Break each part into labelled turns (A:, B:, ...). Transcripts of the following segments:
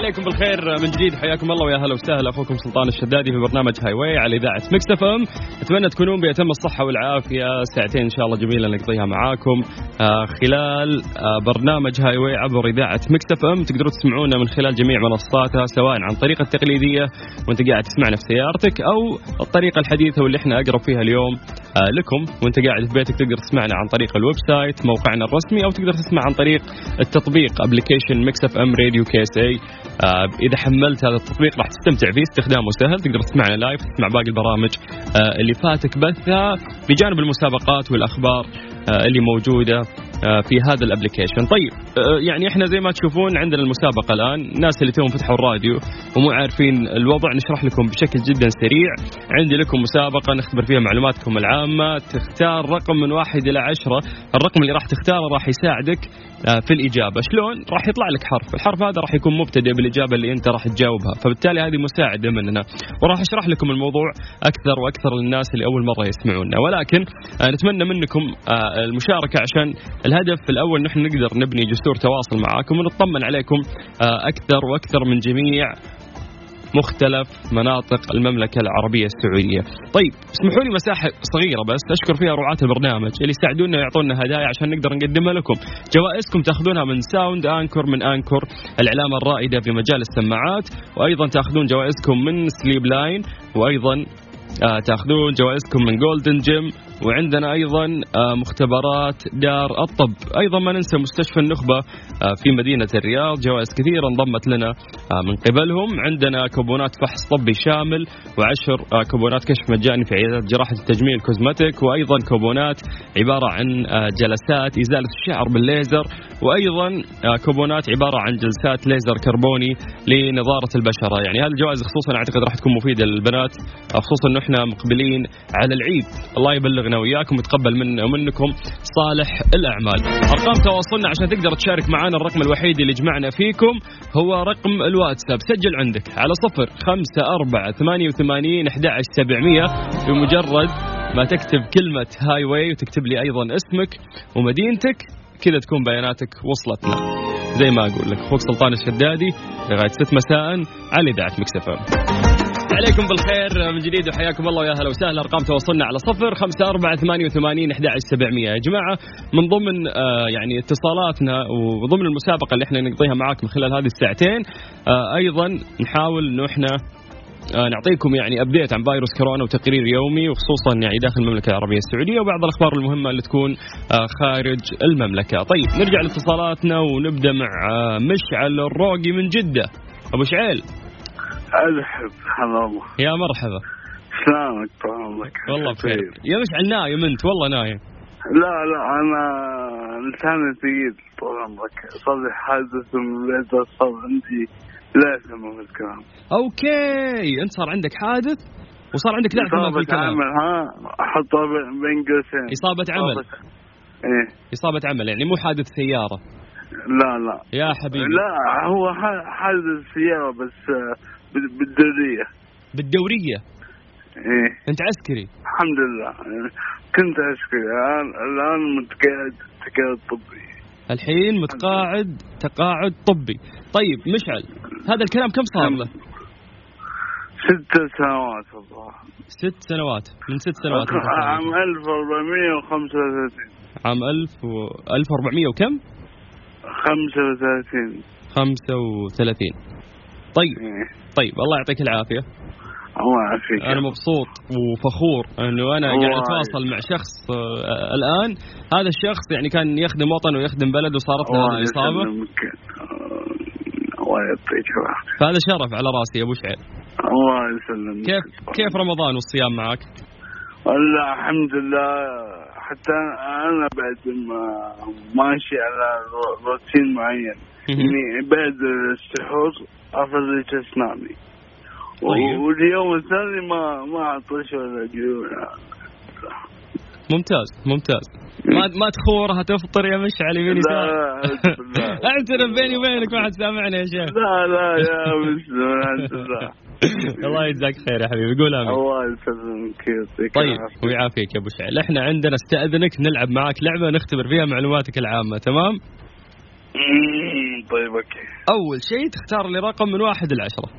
A: الخير من جديد حياكم الله ويا هلا وسهلا اخوكم سلطان الشدادي في برنامج هاي واي على اذاعه مكس اف ام اتمنى تكونون باتم الصحه والعافيه ساعتين ان شاء الله جميله نقضيها معاكم آه، خلال آه، برنامج هاي واي عبر اذاعه مكس اف ام تقدروا تسمعونا من خلال جميع منصاتها سواء عن طريق التقليديه وانت قاعد تسمعنا في سيارتك او الطريقه الحديثه واللي احنا اقرب فيها اليوم آه، لكم وانت قاعد في بيتك تقدر تسمعنا عن طريق الويب سايت موقعنا الرسمي او تقدر تسمع عن طريق التطبيق ابلكيشن مكس اف ام راديو كي اس اي اذا آه، حملت هذا التطبيق راح تستمتع فيه استخدامه سهل تقدر تسمعنا لايف تسمع باقي البرامج آه، اللي فاتك بثها بجانب المسابقات والاخبار آه، اللي موجوده آه، في هذا الابلكيشن طيب آه، يعني احنا زي ما تشوفون عندنا المسابقه الان الناس اللي توهم فتحوا الراديو ومو عارفين الوضع نشرح لكم بشكل جدا سريع عندي لكم مسابقه نختبر فيها معلوماتكم العامه تختار رقم من واحد الى عشرة الرقم اللي راح تختاره راح يساعدك آه، في الاجابه شلون راح يطلع لك حرف الحرف هذا راح يكون مبتدئ بالاجابه اللي انت راح تجاوبها فبالتالي هذه مساعده مننا وراح اشرح لكم الموضوع اكثر واكثر للناس اللي اول مره يسمعونا ولكن آه، نتمنى منكم آه، المشاركه عشان الهدف الاول نحن نقدر نبني جسور تواصل معاكم ونطمن عليكم آه، اكثر واكثر من جميع مختلف مناطق المملكة العربية السعودية طيب اسمحوا لي مساحة صغيرة بس أشكر فيها رعاة البرنامج اللي يساعدونا يعطونا هدايا عشان نقدر نقدمها لكم جوائزكم تاخذونها من ساوند أنكور من أنكور العلامة الرائدة في مجال السماعات وأيضا تاخذون جوائزكم من سليب لاين وأيضا آه، تاخذون جوائزكم من جولدن جيم وعندنا ايضا آه، مختبرات دار الطب ايضا ما ننسى مستشفى النخبه آه، في مدينه الرياض جوائز كثيره انضمت لنا آه، من قبلهم عندنا كوبونات فحص طبي شامل وعشر آه، كوبونات كشف مجاني في عيادات جراحه التجميل كوزمتك وايضا كوبونات عباره عن آه، جلسات ازاله الشعر بالليزر وايضا آه، كوبونات عباره عن جلسات ليزر كربوني لنضاره البشره يعني هذه الجوائز خصوصا اعتقد راح تكون مفيده للبنات آه، خصوصا انه احنا مقبلين على العيد الله يبلغنا وياكم ويتقبل منا ومنكم صالح الاعمال ارقام تواصلنا عشان تقدر تشارك معنا الرقم الوحيد اللي جمعنا فيكم هو رقم الواتساب سجل عندك على صفر خمسة أربعة ثمانية وثمانين أحد سبعمية بمجرد ما تكتب كلمة هاي واي وتكتب لي أيضا اسمك ومدينتك كذا تكون بياناتك وصلتنا زي ما أقول لك أخوك سلطان الشدادي لغاية ست مساء على إذاعة مكسفة عليكم بالخير من جديد وحياكم الله ويا هلا وسهلا ارقام تواصلنا على صفر خمسة أربعة ثمانية وثمانين أحد سبعمية يا جماعة من ضمن آه، يعني اتصالاتنا وضمن المسابقة اللي احنا نقضيها معاكم خلال هذه الساعتين آه، أيضا نحاول إنه احنا آه، نعطيكم يعني ابديت عن فيروس كورونا وتقرير يومي وخصوصا يعني داخل المملكه العربيه السعوديه وبعض الاخبار المهمه اللي تكون آه، خارج المملكه. طيب نرجع لاتصالاتنا ونبدا مع آه، مشعل الروقي من جده. ابو شعيل
B: ألحب هلا والله
A: يا مرحبا
B: سلامك طال عمرك
A: والله بخير يا مشعل نايم انت والله نايم
B: لا لا أنا إنسان ثقيل طال عمرك صار لي حادث من الولادة صار عندي لا سمع في الكلام
A: اوكي انت صار عندك حادث وصار عندك لا اعتماد في
B: إصابة
A: الكلام
B: عمل ها أحط بين قوسين
A: إصابة عمل
B: إصابة- إيه
A: إصابة عمل يعني مو حادث سيارة
B: لا لا
A: يا حبيبي
B: لا هو ح- حادث سيارة بس آه، بال- بالدرية
A: بالدورية
B: إيه
A: أنت عسكري
B: الحمد لله كنت أشكر الآن الآن متقاعد تقاعد طبي
A: الحين متقاعد تقاعد طبي طيب مشعل هذا الكلام كم صار له؟
B: ست سنوات والله
A: ست سنوات من ست سنوات أنت
B: عام
A: خرجت.
B: 1435
A: عام 1000 و 1400 وكم؟
B: 35
A: 35 طيب
B: إيه.
A: طيب الله يعطيك العافية
B: الله يعافيك
A: انا مبسوط وفخور انه انا
B: الله
A: قاعد اتواصل مع شخص آه، الان هذا الشخص يعني كان يخدم وطنه ويخدم بلده وصارت له
B: الله
A: هذه الاصابه
B: يسلمك. الله يعطيك العافية
A: فهذا شرف على راسي يا ابو شعيب
B: الله يسلمك
A: كيف كيف رمضان والصيام معك؟
B: والله الحمد لله حتى انا بعد ما ماشي على رو- روتين معين
A: Mhm.
B: يعني بعد السحور افرج اسناني
A: طيب.
B: و- واليوم الثاني ما ما عطش ولا جوع
A: ممتاز ممتاز ما ما تخورها تفطر يا مشعل يمين
B: لا،
A: يسار
B: لا، لا.
A: اعترف بيني وبينك ما حد سامعني يا شيخ
B: لا لا يا مسلم الحمد لله
A: الله يجزاك خير يا حبيبي قول امين
B: الله يسلمك يعطيك
A: طيب
B: العافية.
A: ويعافيك يا ابو شعيل احنا عندنا استاذنك نلعب معك لعبه نختبر فيها معلوماتك العامه تمام؟
B: مم، طيب اوكي
A: اول شيء تختار لي رقم من واحد إلى عشرة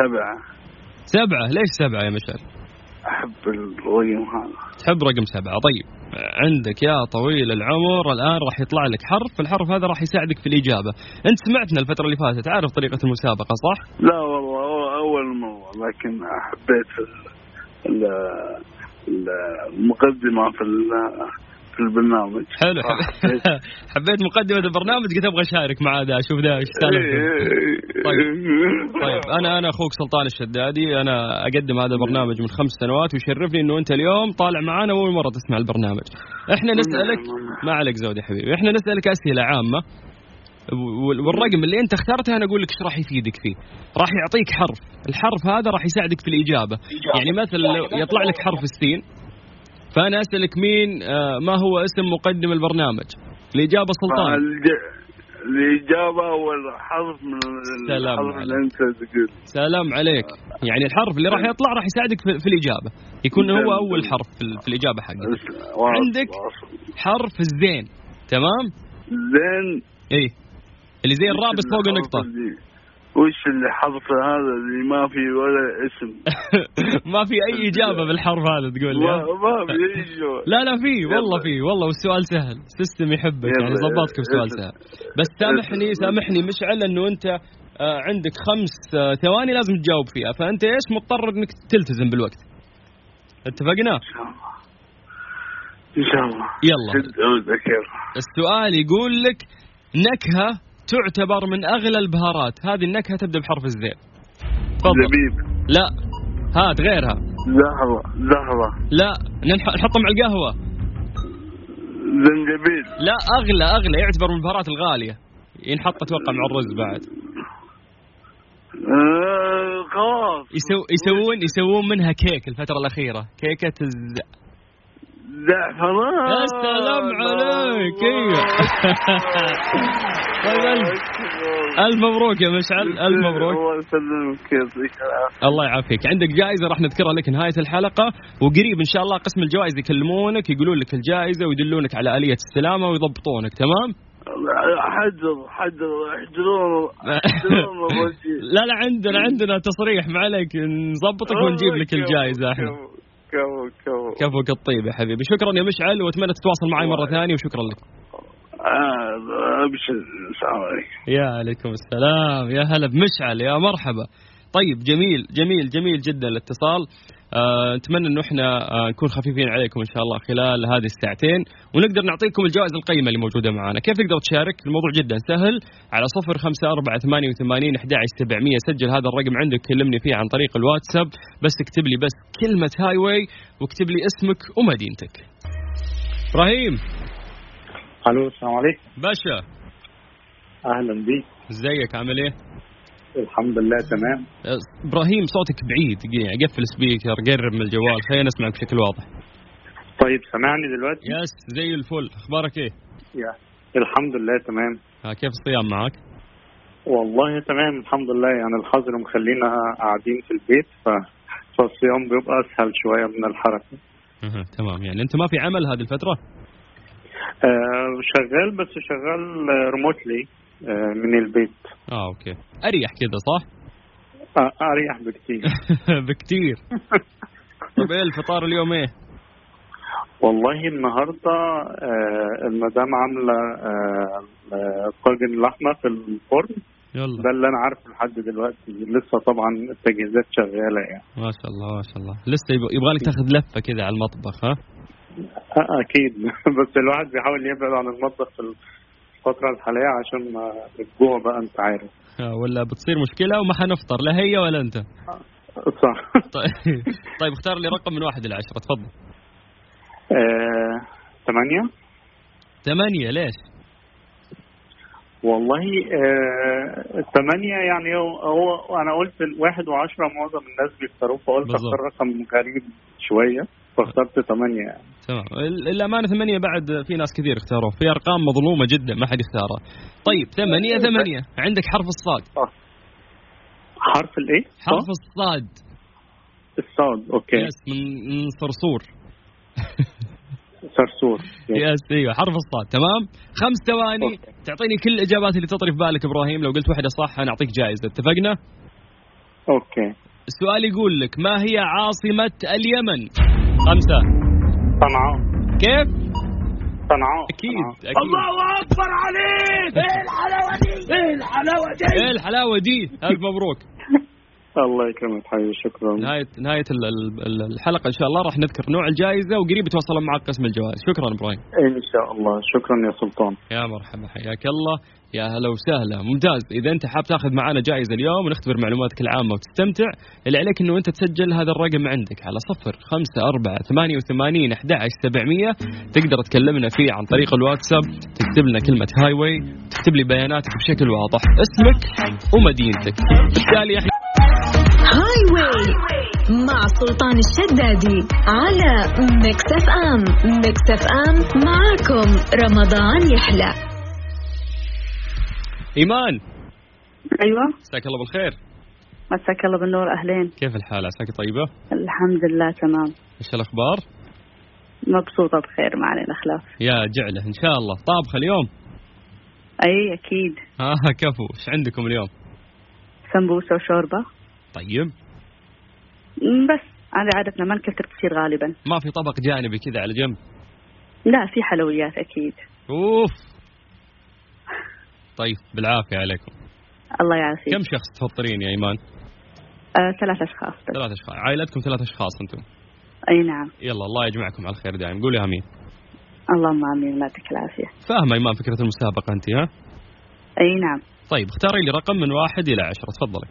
B: سبعة
A: سبعة ليش سبعة يا مشعل
B: احب الرقم هذا
A: تحب رقم سبعة طيب عندك يا طويل العمر الآن راح يطلع لك حرف الحرف هذا راح يساعدك في الإجابة أنت سمعتنا الفترة اللي فاتت عارف طريقة المسابقة صح؟
B: لا والله هو اول مرة لكن حبيت ال- ال- المقدمة في ال- في البرنامج
A: حلو حبيت, حبيت مقدمة البرنامج قلت أبغى أشارك معاه ذا أشوف ذا إيش سالفته
B: إيه،
A: طيب انا انا اخوك سلطان الشدادي انا اقدم هذا البرنامج من خمس سنوات ويشرفني انه انت اليوم طالع معانا واول مره تسمع البرنامج. احنا نسالك ما عليك زود يا حبيبي، احنا نسالك اسئله عامه وال- والرقم اللي انت اخترته انا اقول لك ايش راح يفيدك فيه. راح يعطيك حرف، الحرف هذا راح يساعدك في الاجابه، يعني مثلا لو يطلع لك حرف السين فانا اسالك مين آه، ما هو اسم مقدم البرنامج؟ الاجابه سلطان
B: آه، فالج- الإجابة أول حرف من ال-
A: سلام
B: الحرف اللي
A: عليك.
B: أنت تقول
A: سلام عليك يعني الحرف اللي راح يطلع راح يساعدك في, في الإجابة يكون هو أول حرف في, ال- في الإجابة حقك
B: واصل-
A: عندك؟
B: واصل.
A: حرف الزين تمام
B: زين
A: إيه اللي زي الرابط فوق
B: آه،
A: النقطة
B: وش اللي حرف هذا اللي ما في ولا اسم
A: ما في أي إجابة بالحرف هذا تقول لي
B: ما
A: ها؟
B: ما في أي شيء
A: لا لا في والله
B: يلا.
A: في والله والسؤال سهل سيستم يحبك
B: يلا،
A: يعني ظبطك بسؤال
B: اسم.
A: سهل بس سامحني سامحني مشعل انه انت آه، عندك خمس آه، ثواني لازم تجاوب فيها فانت ايش مضطر انك تلتزم بالوقت اتفقنا
B: إن شاء الله إن شاء الله
A: يلا
B: جد عودك يلا
A: السؤال يقول لك نكهة تعتبر من أغلى البهارات هذه النكهة تبدأ بحرف الزين تفضل
B: زبيب
A: لا هات غيرها
B: زهرة زهرة
A: لا ننح- نحطها مع القهوة
B: زنجبيل
A: لا أغلى أغلى يعتبر من البهارات الغالية ينحط أتوقع مع الرز بعد
B: آه، خلاص
A: يسو يسوون يسوون منها كيك الفترة الأخيرة كيكة الز...
B: زعفران
A: يا سلام عليك أيوه طيب ألف ألف مبروك يا مشعل ألف مبروك
B: الله يسلمك يعطيك العافيه
A: الله يعافيك عندك جائزه راح نذكرها لك نهايه الحلقه وقريب ان شاء الله قسم الجوائز يكلمونك يقولون لك الجائزه ويدلونك على اليه السلامه ويضبطونك تمام
B: حجر حجر احجرون احجرون الرجل.
A: لا لا عندنا عندنا تصريح ما عليك نظبطك ونجيب لك الجائزه احنا
B: كفو كفو كفو
A: كفوك الطيب يا حبيبي شكرا يا مشعل واتمنى تتواصل معي مره ثانيه وشكرا لك
B: آه، ابشر السلام عليكم
A: يا عليكم السلام يا هلا بمشعل يا مرحبا طيب جميل جميل جميل جدا الاتصال آه، نتمنى انه احنا آه، نكون خفيفين عليكم ان شاء الله خلال هذه الساعتين ونقدر نعطيكم الجوائز القيمه اللي موجوده معنا، كيف تقدر تشارك؟ الموضوع جدا سهل على 05488 11700 سجل هذا الرقم عندك كلمني فيه عن طريق الواتساب بس اكتب لي بس كلمه هاي واي واكتب لي اسمك ومدينتك. ابراهيم
C: الو السلام عليكم
A: باشا
C: اهلا بيك
A: ازيك عامل ايه؟
C: الحمد لله تمام
A: ابراهيم صوتك بعيد يعني قفل سبيكر قرب من الجوال خلينا نسمعك بشكل واضح
C: طيب سامعني دلوقتي
A: يس زي الفل اخبارك ايه
C: يا. الحمد لله تمام
A: ها آه، كيف الصيام معك
C: والله تمام الحمد لله يعني الحظر مخلينا قاعدين في البيت ف... فالصيام بيبقى اسهل شويه من الحركه
A: أها، تمام يعني انت ما في عمل هذه الفتره
C: آه شغال بس شغال ريموتلي آه من البيت
A: اه اوكي اريح كذا صح
C: آه اريح بكتير
A: بكتير طيب ايه الفطار اليوم ايه
C: والله النهارده آه المدام عامله آه آه طاجن لحمه في الفرن
A: يلا
C: ده اللي انا عارفه لحد دلوقتي لسه طبعا التجهيزات شغاله يعني
A: ما شاء الله ما شاء الله لسه يبغ- يبغالك تاخذ لفه كذا على المطبخ ها
C: أ- اكيد آه، بس الواحد بيحاول يبعد عن المطبخ في الفتره الحاليه عشان ما الجوع بقى انت عارف
A: آه، ولا بتصير مشكله وما حنفطر لا هي ولا انت
C: صح
A: طيب طيب اختار لي رقم من واحد الى عشره تفضل
C: آه، ثمانية
A: ثمانيه ليش
C: والله آه، ثمانية يعني هو, هو أنا قلت واحد وعشرة معظم الناس بيختاروه فقلت
A: بالظبط.
C: أختار رقم غريب شوية فاخترت ثمانية يعني
A: تمام ال- الأمانة ثمانية بعد في ناس كثير اختاروه في أرقام مظلومة جدا ما حد اختارها طيب ثمانية ثمانية عندك حرف الصاد
C: حرف الإيه؟
A: حرف
C: صح؟
A: الصاد
C: الصاد أوكي
A: يس من من صرصور
C: صرصور
A: يس ايوه حرف الصاد تمام خمس ثواني
C: أوكي.
A: تعطيني كل الاجابات اللي تطري في بالك ابراهيم لو قلت واحده صح انا اعطيك جائزه اتفقنا
C: اوكي
A: السؤال يقول لك ما هي عاصمه اليمن خمسه
C: صنعاء
A: كيف
C: صنعاء
A: اكيد
C: صنعاء.
A: اكيد
B: اكبر آه. عليك ايه الحلاوه دي ايه الحلاوه دي
A: ايه الحلاوه دي الف مبروك
C: الله يكرمك حبيبي شكرا
A: نهايه نهايه ال- ال- ال- الحلقه ان شاء الله راح نذكر نوع الجائزه وقريب يتواصلون معك قسم الجوائز شكرا ابراهيم
C: ان شاء الله شكرا يا سلطان
A: يا مرحبا حياك الله يا هلا وسهلا ممتاز اذا انت حاب تاخذ معنا جائزه اليوم ونختبر معلوماتك العامه وتستمتع اللي عليك انه انت تسجل هذا الرقم عندك على صفر خمسة أربعة ثمانية وثمانين أحد سبعمية تقدر تكلمنا فيه عن طريق الواتساب تكتب لنا كلمة هاي واي تكتب لي بياناتك بشكل واضح اسمك ومدينتك بالتالي احنا
D: هاي واي مع سلطان الشدادي على ميكس اف ام ميكس اف ام معاكم رمضان يحلى
A: إيمان
E: ايوه
A: مساك الله بالخير
E: مساك الله بالنور اهلين
A: كيف الحال عساك طيبة
E: الحمد لله تمام
A: ايش الأخبار
E: مبسوطه بخير ما علينا خلاف
A: يا جعلة إن شاء الله طابخة اليوم
E: اي اكيد
A: ها كفو ايش عندكم اليوم
E: سمبوسه وشوربه
A: طيب
E: مم، بس هذه عادتنا ما نكثر كثير غالبا
A: ما في طبق جانبي كذا على جنب
E: لا في حلويات اكيد
A: اوف طيب بالعافيه عليكم
E: الله يعافيك
A: كم شخص تفطرين يا ايمان
E: آه ثلاث اشخاص بس
A: ثلاث اشخاص عائلتكم ثلاث اشخاص انتم
E: اي نعم
A: يلا الله يجمعكم على الخير دائم قولي امين
E: اللهم امين الله يعطيك العافيه
A: فاهمه ايمان فكره المسابقه انت ها
E: اي نعم
A: طيب اختاري لي رقم من واحد الى عشرة تفضلي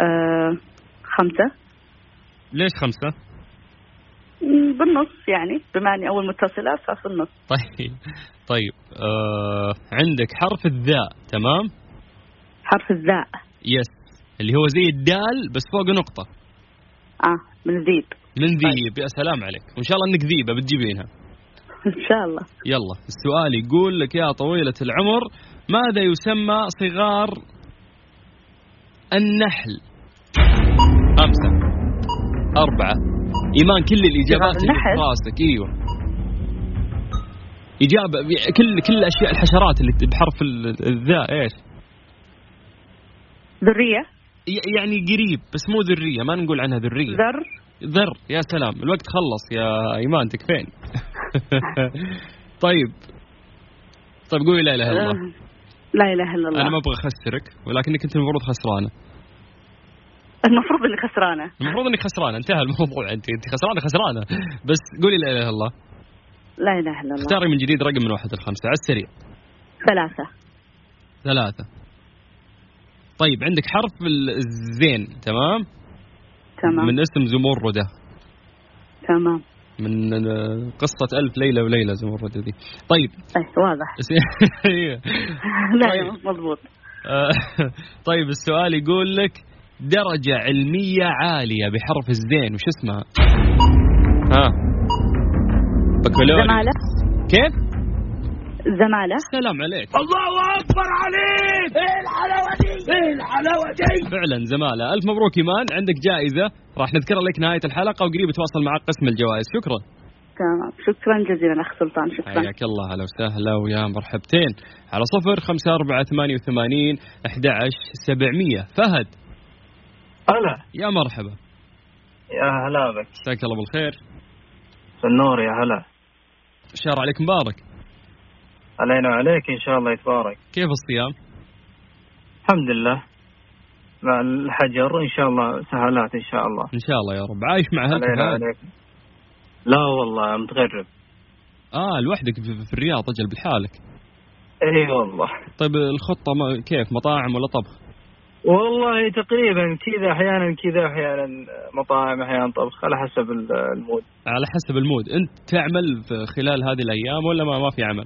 E: آه خمسه
A: ليش خمسة؟
E: مم، بالنص يعني بما اني اول متصله ففي النص
A: طيب طيب آه... عندك حرف الذاء تمام؟
E: حرف الذاء
A: يس اللي هو زي الدال بس فوق نقطة
E: اه من ذيب
A: من ذيب يا سلام عليك وإن شاء الله إنك ذيبة بتجيبينها
E: ان شاء الله
A: يلا السؤال يقول لك يا طويلة العمر ماذا يسمى صغار النحل خمسة أربعة إيمان كل الإجابات اللي في
E: النحل؟
A: راسك أيوه إجابة كل كل الأشياء الحشرات اللي بحرف ال- الذاء إيش
E: ذريه
A: ي- يعني قريب بس مو ذرية ما نقول عنها ذرية
E: ذر
A: ذر يا سلام الوقت خلص يا إيمان تكفين طيب طيب قولي لا إله إلا الله
E: آه، لا اله الا الله
A: انا ما ابغى اخسرك ولكنك انت المفروض خسرانه
E: المفروض اني خسرانه
A: المفروض انك خسرانه انتهى الموضوع انت انت خسرانه خسرانه بس قولي لا اله الا الله
E: لا اله الا الله
A: اختاري من جديد رقم من واحد لخمسه على السريع
E: ثلاثه
A: ثلاثه طيب عندك حرف ال- الزين تمام
E: تمام
A: من اسم زمردة
E: تمام
A: من آه، قصة ألف ليلة وليلة زمردة ذي طيب
E: ايه واضح
A: اس- إيه.
E: لا
A: طيب.
E: يا مضبوط
A: آه، طيب السؤال يقول لك درجة علمية عالية بحرف الزين وش اسمها؟ ها بكالوريوس
E: زمالة
A: كيف؟
E: زمالة
A: سلام عليك
B: الله اكبر عليك ايه الحلاوه دي ايه الحلاوه دي
A: فعلا زمالة ألف مبروك إيمان عندك جائزة راح نذكرها لك نهاية الحلقة وقريب يتواصل معك قسم الجوائز شكرا
E: تمام شكرا جزيلا اخ سلطان شكرا
A: حياك الله هلا وسهلا ويا مرحبتين على صفر خمسة أربعة ثمانية وثمانين أحد سبعمية فهد
F: هلا
A: يا مرحبا
F: يا هلا بك
A: مساك الله بالخير
F: النور يا هلا
A: شهر عليك مبارك
F: علينا وعليك ان شاء الله يتبارك
A: كيف الصيام؟
F: الحمد لله مع الحجر ان شاء الله سهالات ان شاء الله
A: إن شاء الله يا رب عايش مع أهلك
F: علينا
A: فهد؟
F: وعليك لا والله متغرب
A: آه لوحدك في في الرياض أجل بحالك
F: اي والله
A: طيب الخطة ما كيف مطاعم ولا طبخ؟
F: والله تقريبا كذا احيانا كذا احيانا مطاعم احيانا طبخ على حسب ال- المود
A: على حسب المود أنت تعمل في خلال هذه الأيام ولا ما, ما في عمل؟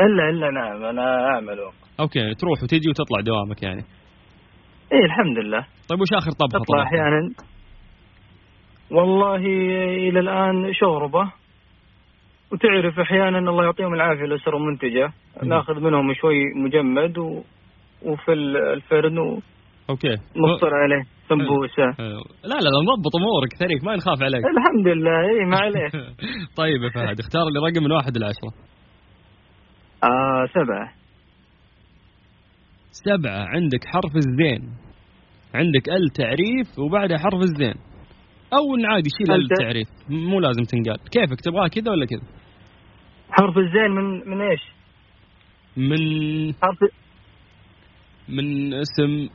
F: الا الا نعم انا اعمل والله.
A: أوكي تروح وتجي وتطلع دوامك يعني
F: اي الحمد لله
A: طيب وش آخر طبخة
F: اطلع
A: طبعا؟
F: احيانا والله الى الان شوربه وتعرف احيانا الله يعطيهم العافيه الاسر المنتجه
A: مم.
F: ناخذ منهم شوي مجمد و... وفي ال- الفرن
A: أوكي أه.
F: ونفطر عليه في سمبوسه
A: حلو. لا لا لا نضبط امورك شريك ما نخاف عليك
F: الحمد لله اي ما عليه
A: طيب يا فهد اختار لي رقم من واحد لعشرة
F: آه سبعه
A: سبعة عندك حرف الزين عندك ال تعريف وبعدها حرف الزين او إن عادي شيل ال
F: أنت-
A: تعريف م- مو لازم تنقال كيفك تبغاها كذا ولا كذا
F: حرف الزين من من ايش؟
A: من
F: حرف
A: من اسم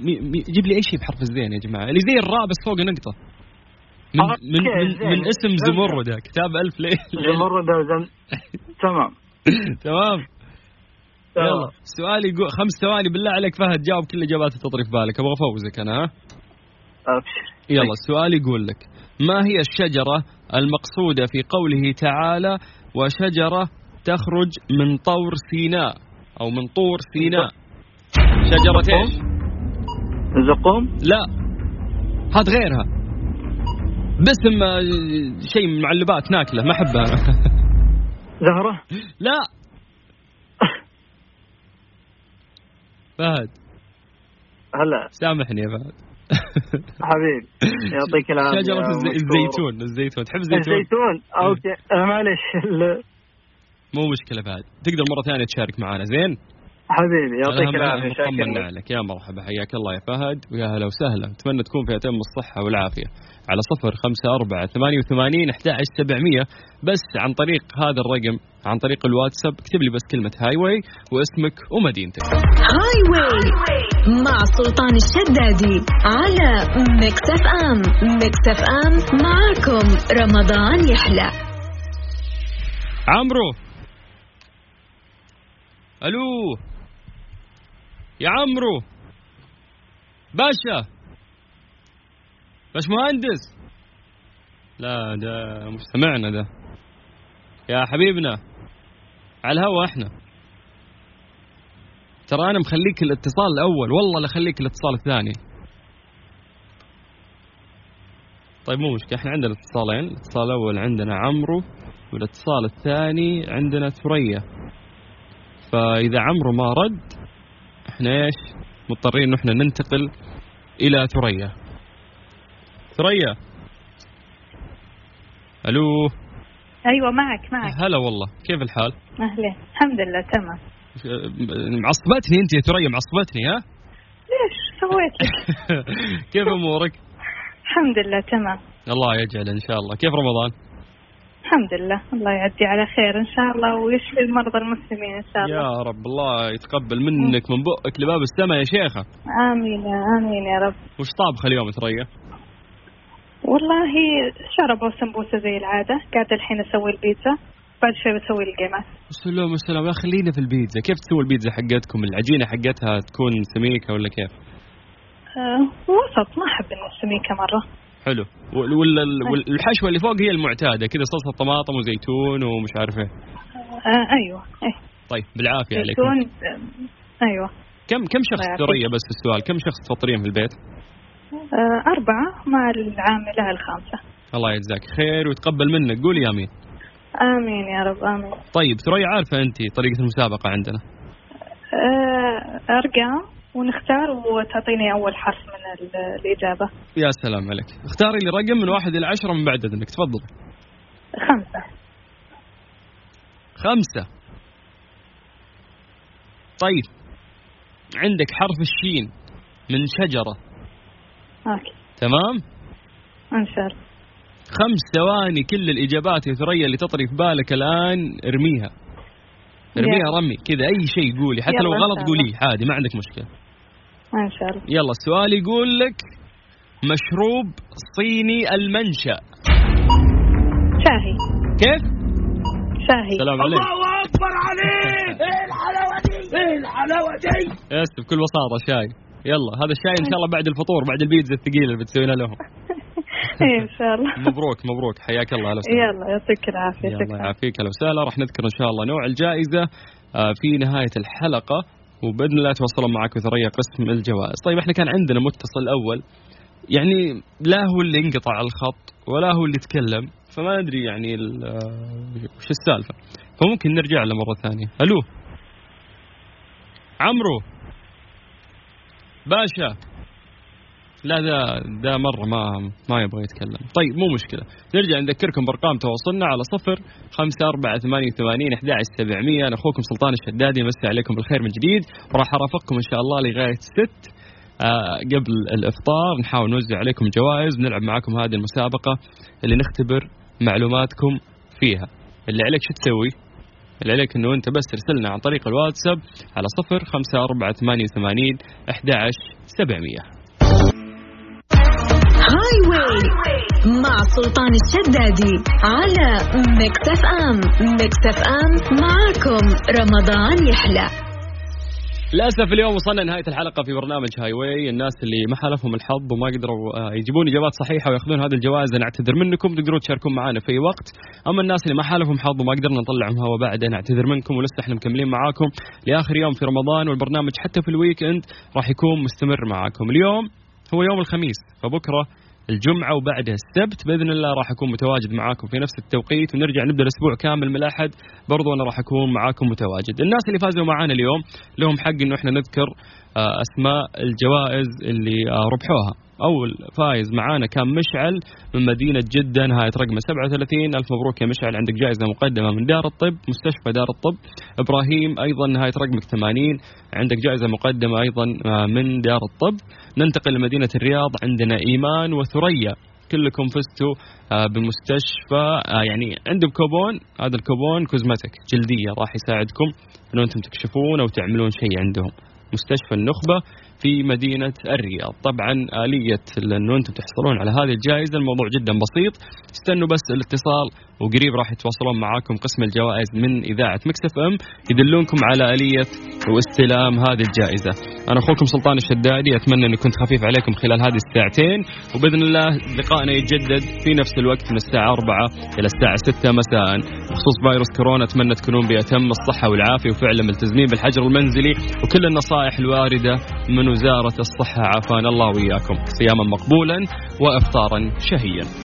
A: مي مي جيب لي اي شيء بحرف الزين يا جماعه اللي زي الراء بس فوق نقطه من
F: آه،
A: من
F: أوكي،
A: من,
F: زين.
A: من اسم زمرده كتاب الف ليله
F: زمرد أو زم... تمام
A: تمام يلا السؤال يقول خمس ثواني بالله عليك فهد جاوب كل اجابات تطري في بالك ابغى افوزك انا ها
F: ابشر
A: يلا السؤال يقول لك ما هي الشجره المقصوده في قوله تعالى وشجره تخرج من طور سيناء او من طور سيناء شجره ايش؟
F: الزقوم
A: لا هات غيرها باسم آه، شيء من معلبات ناكله ما احبها
F: زهره
A: لا فهد
F: هلا
A: سامحني يا فهد
F: حبيبي يعطيك العافيه
A: شجرة الز-
F: مشكور.
A: الزيتون الزيتون تحب الزيتون
F: الزيتون اوكي آه، معلش ال-
A: مو مشكلة فهد تقدر مرة ثانية تشارك معنا زين
F: حبيبي يعطيك
A: أنا هم-
F: العافيه شاكر
A: مطمنا
F: لك.
A: عليك يا مرحبا حياك الله يا فهد ويا هلا وسهلا أتمنى تكون في أتم الصحة والعافية على صفر خمسة أربعة ثمانية وثمانين أحد سبعمية بس عن طريق هذا الرقم عن طريق الواتساب اكتب لي بس كلمة هاي واي واسمك ومدينتك
D: هاي واي مع سلطان الشدادي على ميكس اف ام ميكس اف ام معاكم رمضان يحلى
A: عمرو الو يا عمرو باشا باش مهندس لا ده مش سمعنا ده يا حبيبنا على الهوا احنا ترى انا مخليك الاتصال الاول والله لا اخليك الاتصال الثاني طيب مو مشكله احنا عندنا اتصالين الاتصال الاول عندنا عمرو والاتصال الثاني عندنا ثريا فاذا عمرو ما رد احنا ايش مضطرين ان احنا ننتقل الى ثريا ثريا الو
E: ايوه معك معك
A: هلا والله كيف الحال
E: اهلا الحمد لله تمام
A: معصبتني انت يا ثريا معصبتني ها
E: ليش سويت لك؟
A: كيف امورك
E: الحمد لله تمام
A: الله يجعل ان شاء الله كيف رمضان
E: الحمد لله الله يعدي على خير ان شاء الله ويشفي المرضى المسلمين ان شاء الله
A: يا رب الله يتقبل منك من بؤك لباب السماء يا شيخه
E: امين امين يا رب
A: وش طابخه اليوم يا ثريا
E: والله شربوا سمبوسه زي العاده قاعده الحين اسوي البيتزا بعد شوي بسوي القماش
A: السلام السلام لا خلينا في البيتزا كيف تسوي البيتزا حقتكم العجينة حقتها تكون سميكة ولا كيف
E: أه وسط ما احب انه السميكه مره
A: حلو وال- ولا
E: طيب.
A: ال- وال- الحشوة اللي فوق هي المعتادة كذا صلصة طماطم وزيتون ومش عارف ايه
E: أه ايوه ايه
A: طيب بالعافية عليكم
E: زيتون آه، ايوه
A: كم كم شخص
E: الله يعافيك.
A: ثريا بس في السؤال كم شخص فطرين في البيت
E: أه اربعه مع العامله الخامسه
A: الله يجزاك خير ويتقبل منك قولي امين
E: امين يا رب امين
A: طيب ثريا عارفة انت طريقة المسابقة عندنا
E: أه ارقام ونختار وتعطيني اول حرف من ال- الاجابه
A: يا سلام عليك اختاري لي رقم من واحد إلى عشرة من بعد إذنك تفضلي
E: خمسه
A: خمسة طيب عندك حرف الشين من شجرة
E: اوكي
A: تمام
E: ان شاء الله
A: خمس ثواني كل الإجابات يا ثريا اللي تطري في بالك الآن ارميها ارميها
E: يلا.
A: رمي كذا أي شيء قولي حتى لو
E: يلا إن شاء
A: غلط
E: الله.
A: قولي عادي ما عندك مشكلة
E: ان شاء الله
A: يلا السؤال يقول لك مشروب صيني المنشأ
E: شاهي
A: كيف؟
E: شاهي
A: السلام عليكم الله إيه اكبر عليك ايه الحلاوه دي ايه الحلاوه دي يس بكل بساطه شاي يلا هذا الشاي ان شاء الله بعد الفطور بعد البيتزا الثقيله اللي بتسوينا لهم
E: إيه، ان شاء الله
A: مبروك مبروك حياك الله اهلا وسهلا
E: يلا يعطيك العافيه
A: الله
E: شكرا
A: يعافيك اهلا وسهلا راح نذكر ان شاء الله نوع الجائزه آه، في نهايه الحلقه وباذن الله توصلوا معك وثريا قسم الجوائز طيب احنا كان عندنا متصل اول يعني لا هو اللي انقطع على الخط ولا هو اللي تكلم فما ندري يعني ال- آه، وش السالفه فممكن نرجع له مره ثانيه الو عمرو باشا لا ده ده مره ما ما يبغى يتكلم طيب مو مشكله نرجع نذكركم بارقام تواصلنا على صفر خمسة أربعة ثمانية وثمانين أحد سبعمية أنا أخوكم سلطان الشدادي مسي عليكم بالخير من جديد وراح أرافقكم إن شاء الله لغاية ست آه، قبل الإفطار نحاول نوزع عليكم جوائز نلعب معاكم هذه المسابقة اللي نختبر معلوماتكم فيها اللي عليك شو تسوي؟ اللي عليك انه انت بس ترسلنا عن طريق الواتساب على صفر خمسة أربعة ثمانية وثمانين أحد سبعمية
D: هاي واي مع سلطان الشدادي على ميكس اف ام ميكس اف ام معاكم رمضان يحلى
A: للاسف اليوم وصلنا نهايه الحلقه في برنامج هاي واي الناس اللي ما حالفهم الحظ وما قدروا آه، يجيبون اجابات صحيحه وياخذون هذه الجوائز انا اعتذر منكم تقدرون تشاركون معنا في اي وقت اما الناس اللي ما حالفهم حظ وما قدرنا نطلعهم هوا بعد انا اعتذر منكم ولسه احنا مكملين معاكم لاخر يوم في رمضان والبرنامج حتى في الويك اند راح يكون مستمر معاكم اليوم هو يوم الخميس فبكره الجمعة وبعدها السبت بإذن الله راح أكون متواجد معاكم في نفس التوقيت ونرجع نبدأ الأسبوع كامل من الأحد برضو أنا راح أكون معاكم متواجد الناس اللي فازوا معانا اليوم لهم حق انه احنا نذكر آه، اسماء الجوائز اللي آه، ربحوها اول فايز معانا كان مشعل من مدينه جده نهايه رقمه 37 الف مبروك يا مشعل عندك جائزه مقدمه من دار الطب مستشفى دار الطب ابراهيم ايضا نهايه رقمك 80 عندك جائزه مقدمه ايضا آه، من دار الطب ننتقل لمدينه الرياض عندنا ايمان وثريا كلكم فزتوا آه، بمستشفى آه، يعني عندهم كوبون هذا الكوبون كوزمتك جلديه راح يساعدكم انه انتم تكشفون او تعملون شيء عندهم مستشفى النخبة في مدينة الرياض طبعا آلية أنه أنتم تحصلون على هذه الجائزة الموضوع جدا بسيط استنوا بس الاتصال وقريب راح يتواصلون معاكم قسم الجوائز من إذاعة مكسف أم يدلونكم على آلية واستلام هذه الجائزة أنا أخوكم سلطان الشدادي أتمنى أني كنت خفيف عليكم خلال هذه الساعتين وبإذن الله لقائنا يتجدد في نفس الوقت من الساعة 4 إلى الساعة 6 مساء بخصوص فيروس كورونا أتمنى تكونون بأتم الصحة والعافية وفعلا ملتزمين بالحجر المنزلي وكل النصائح الواردة من وزارة الصحة عافانا الله وإياكم صياما مقبولا وإفطارا شهيا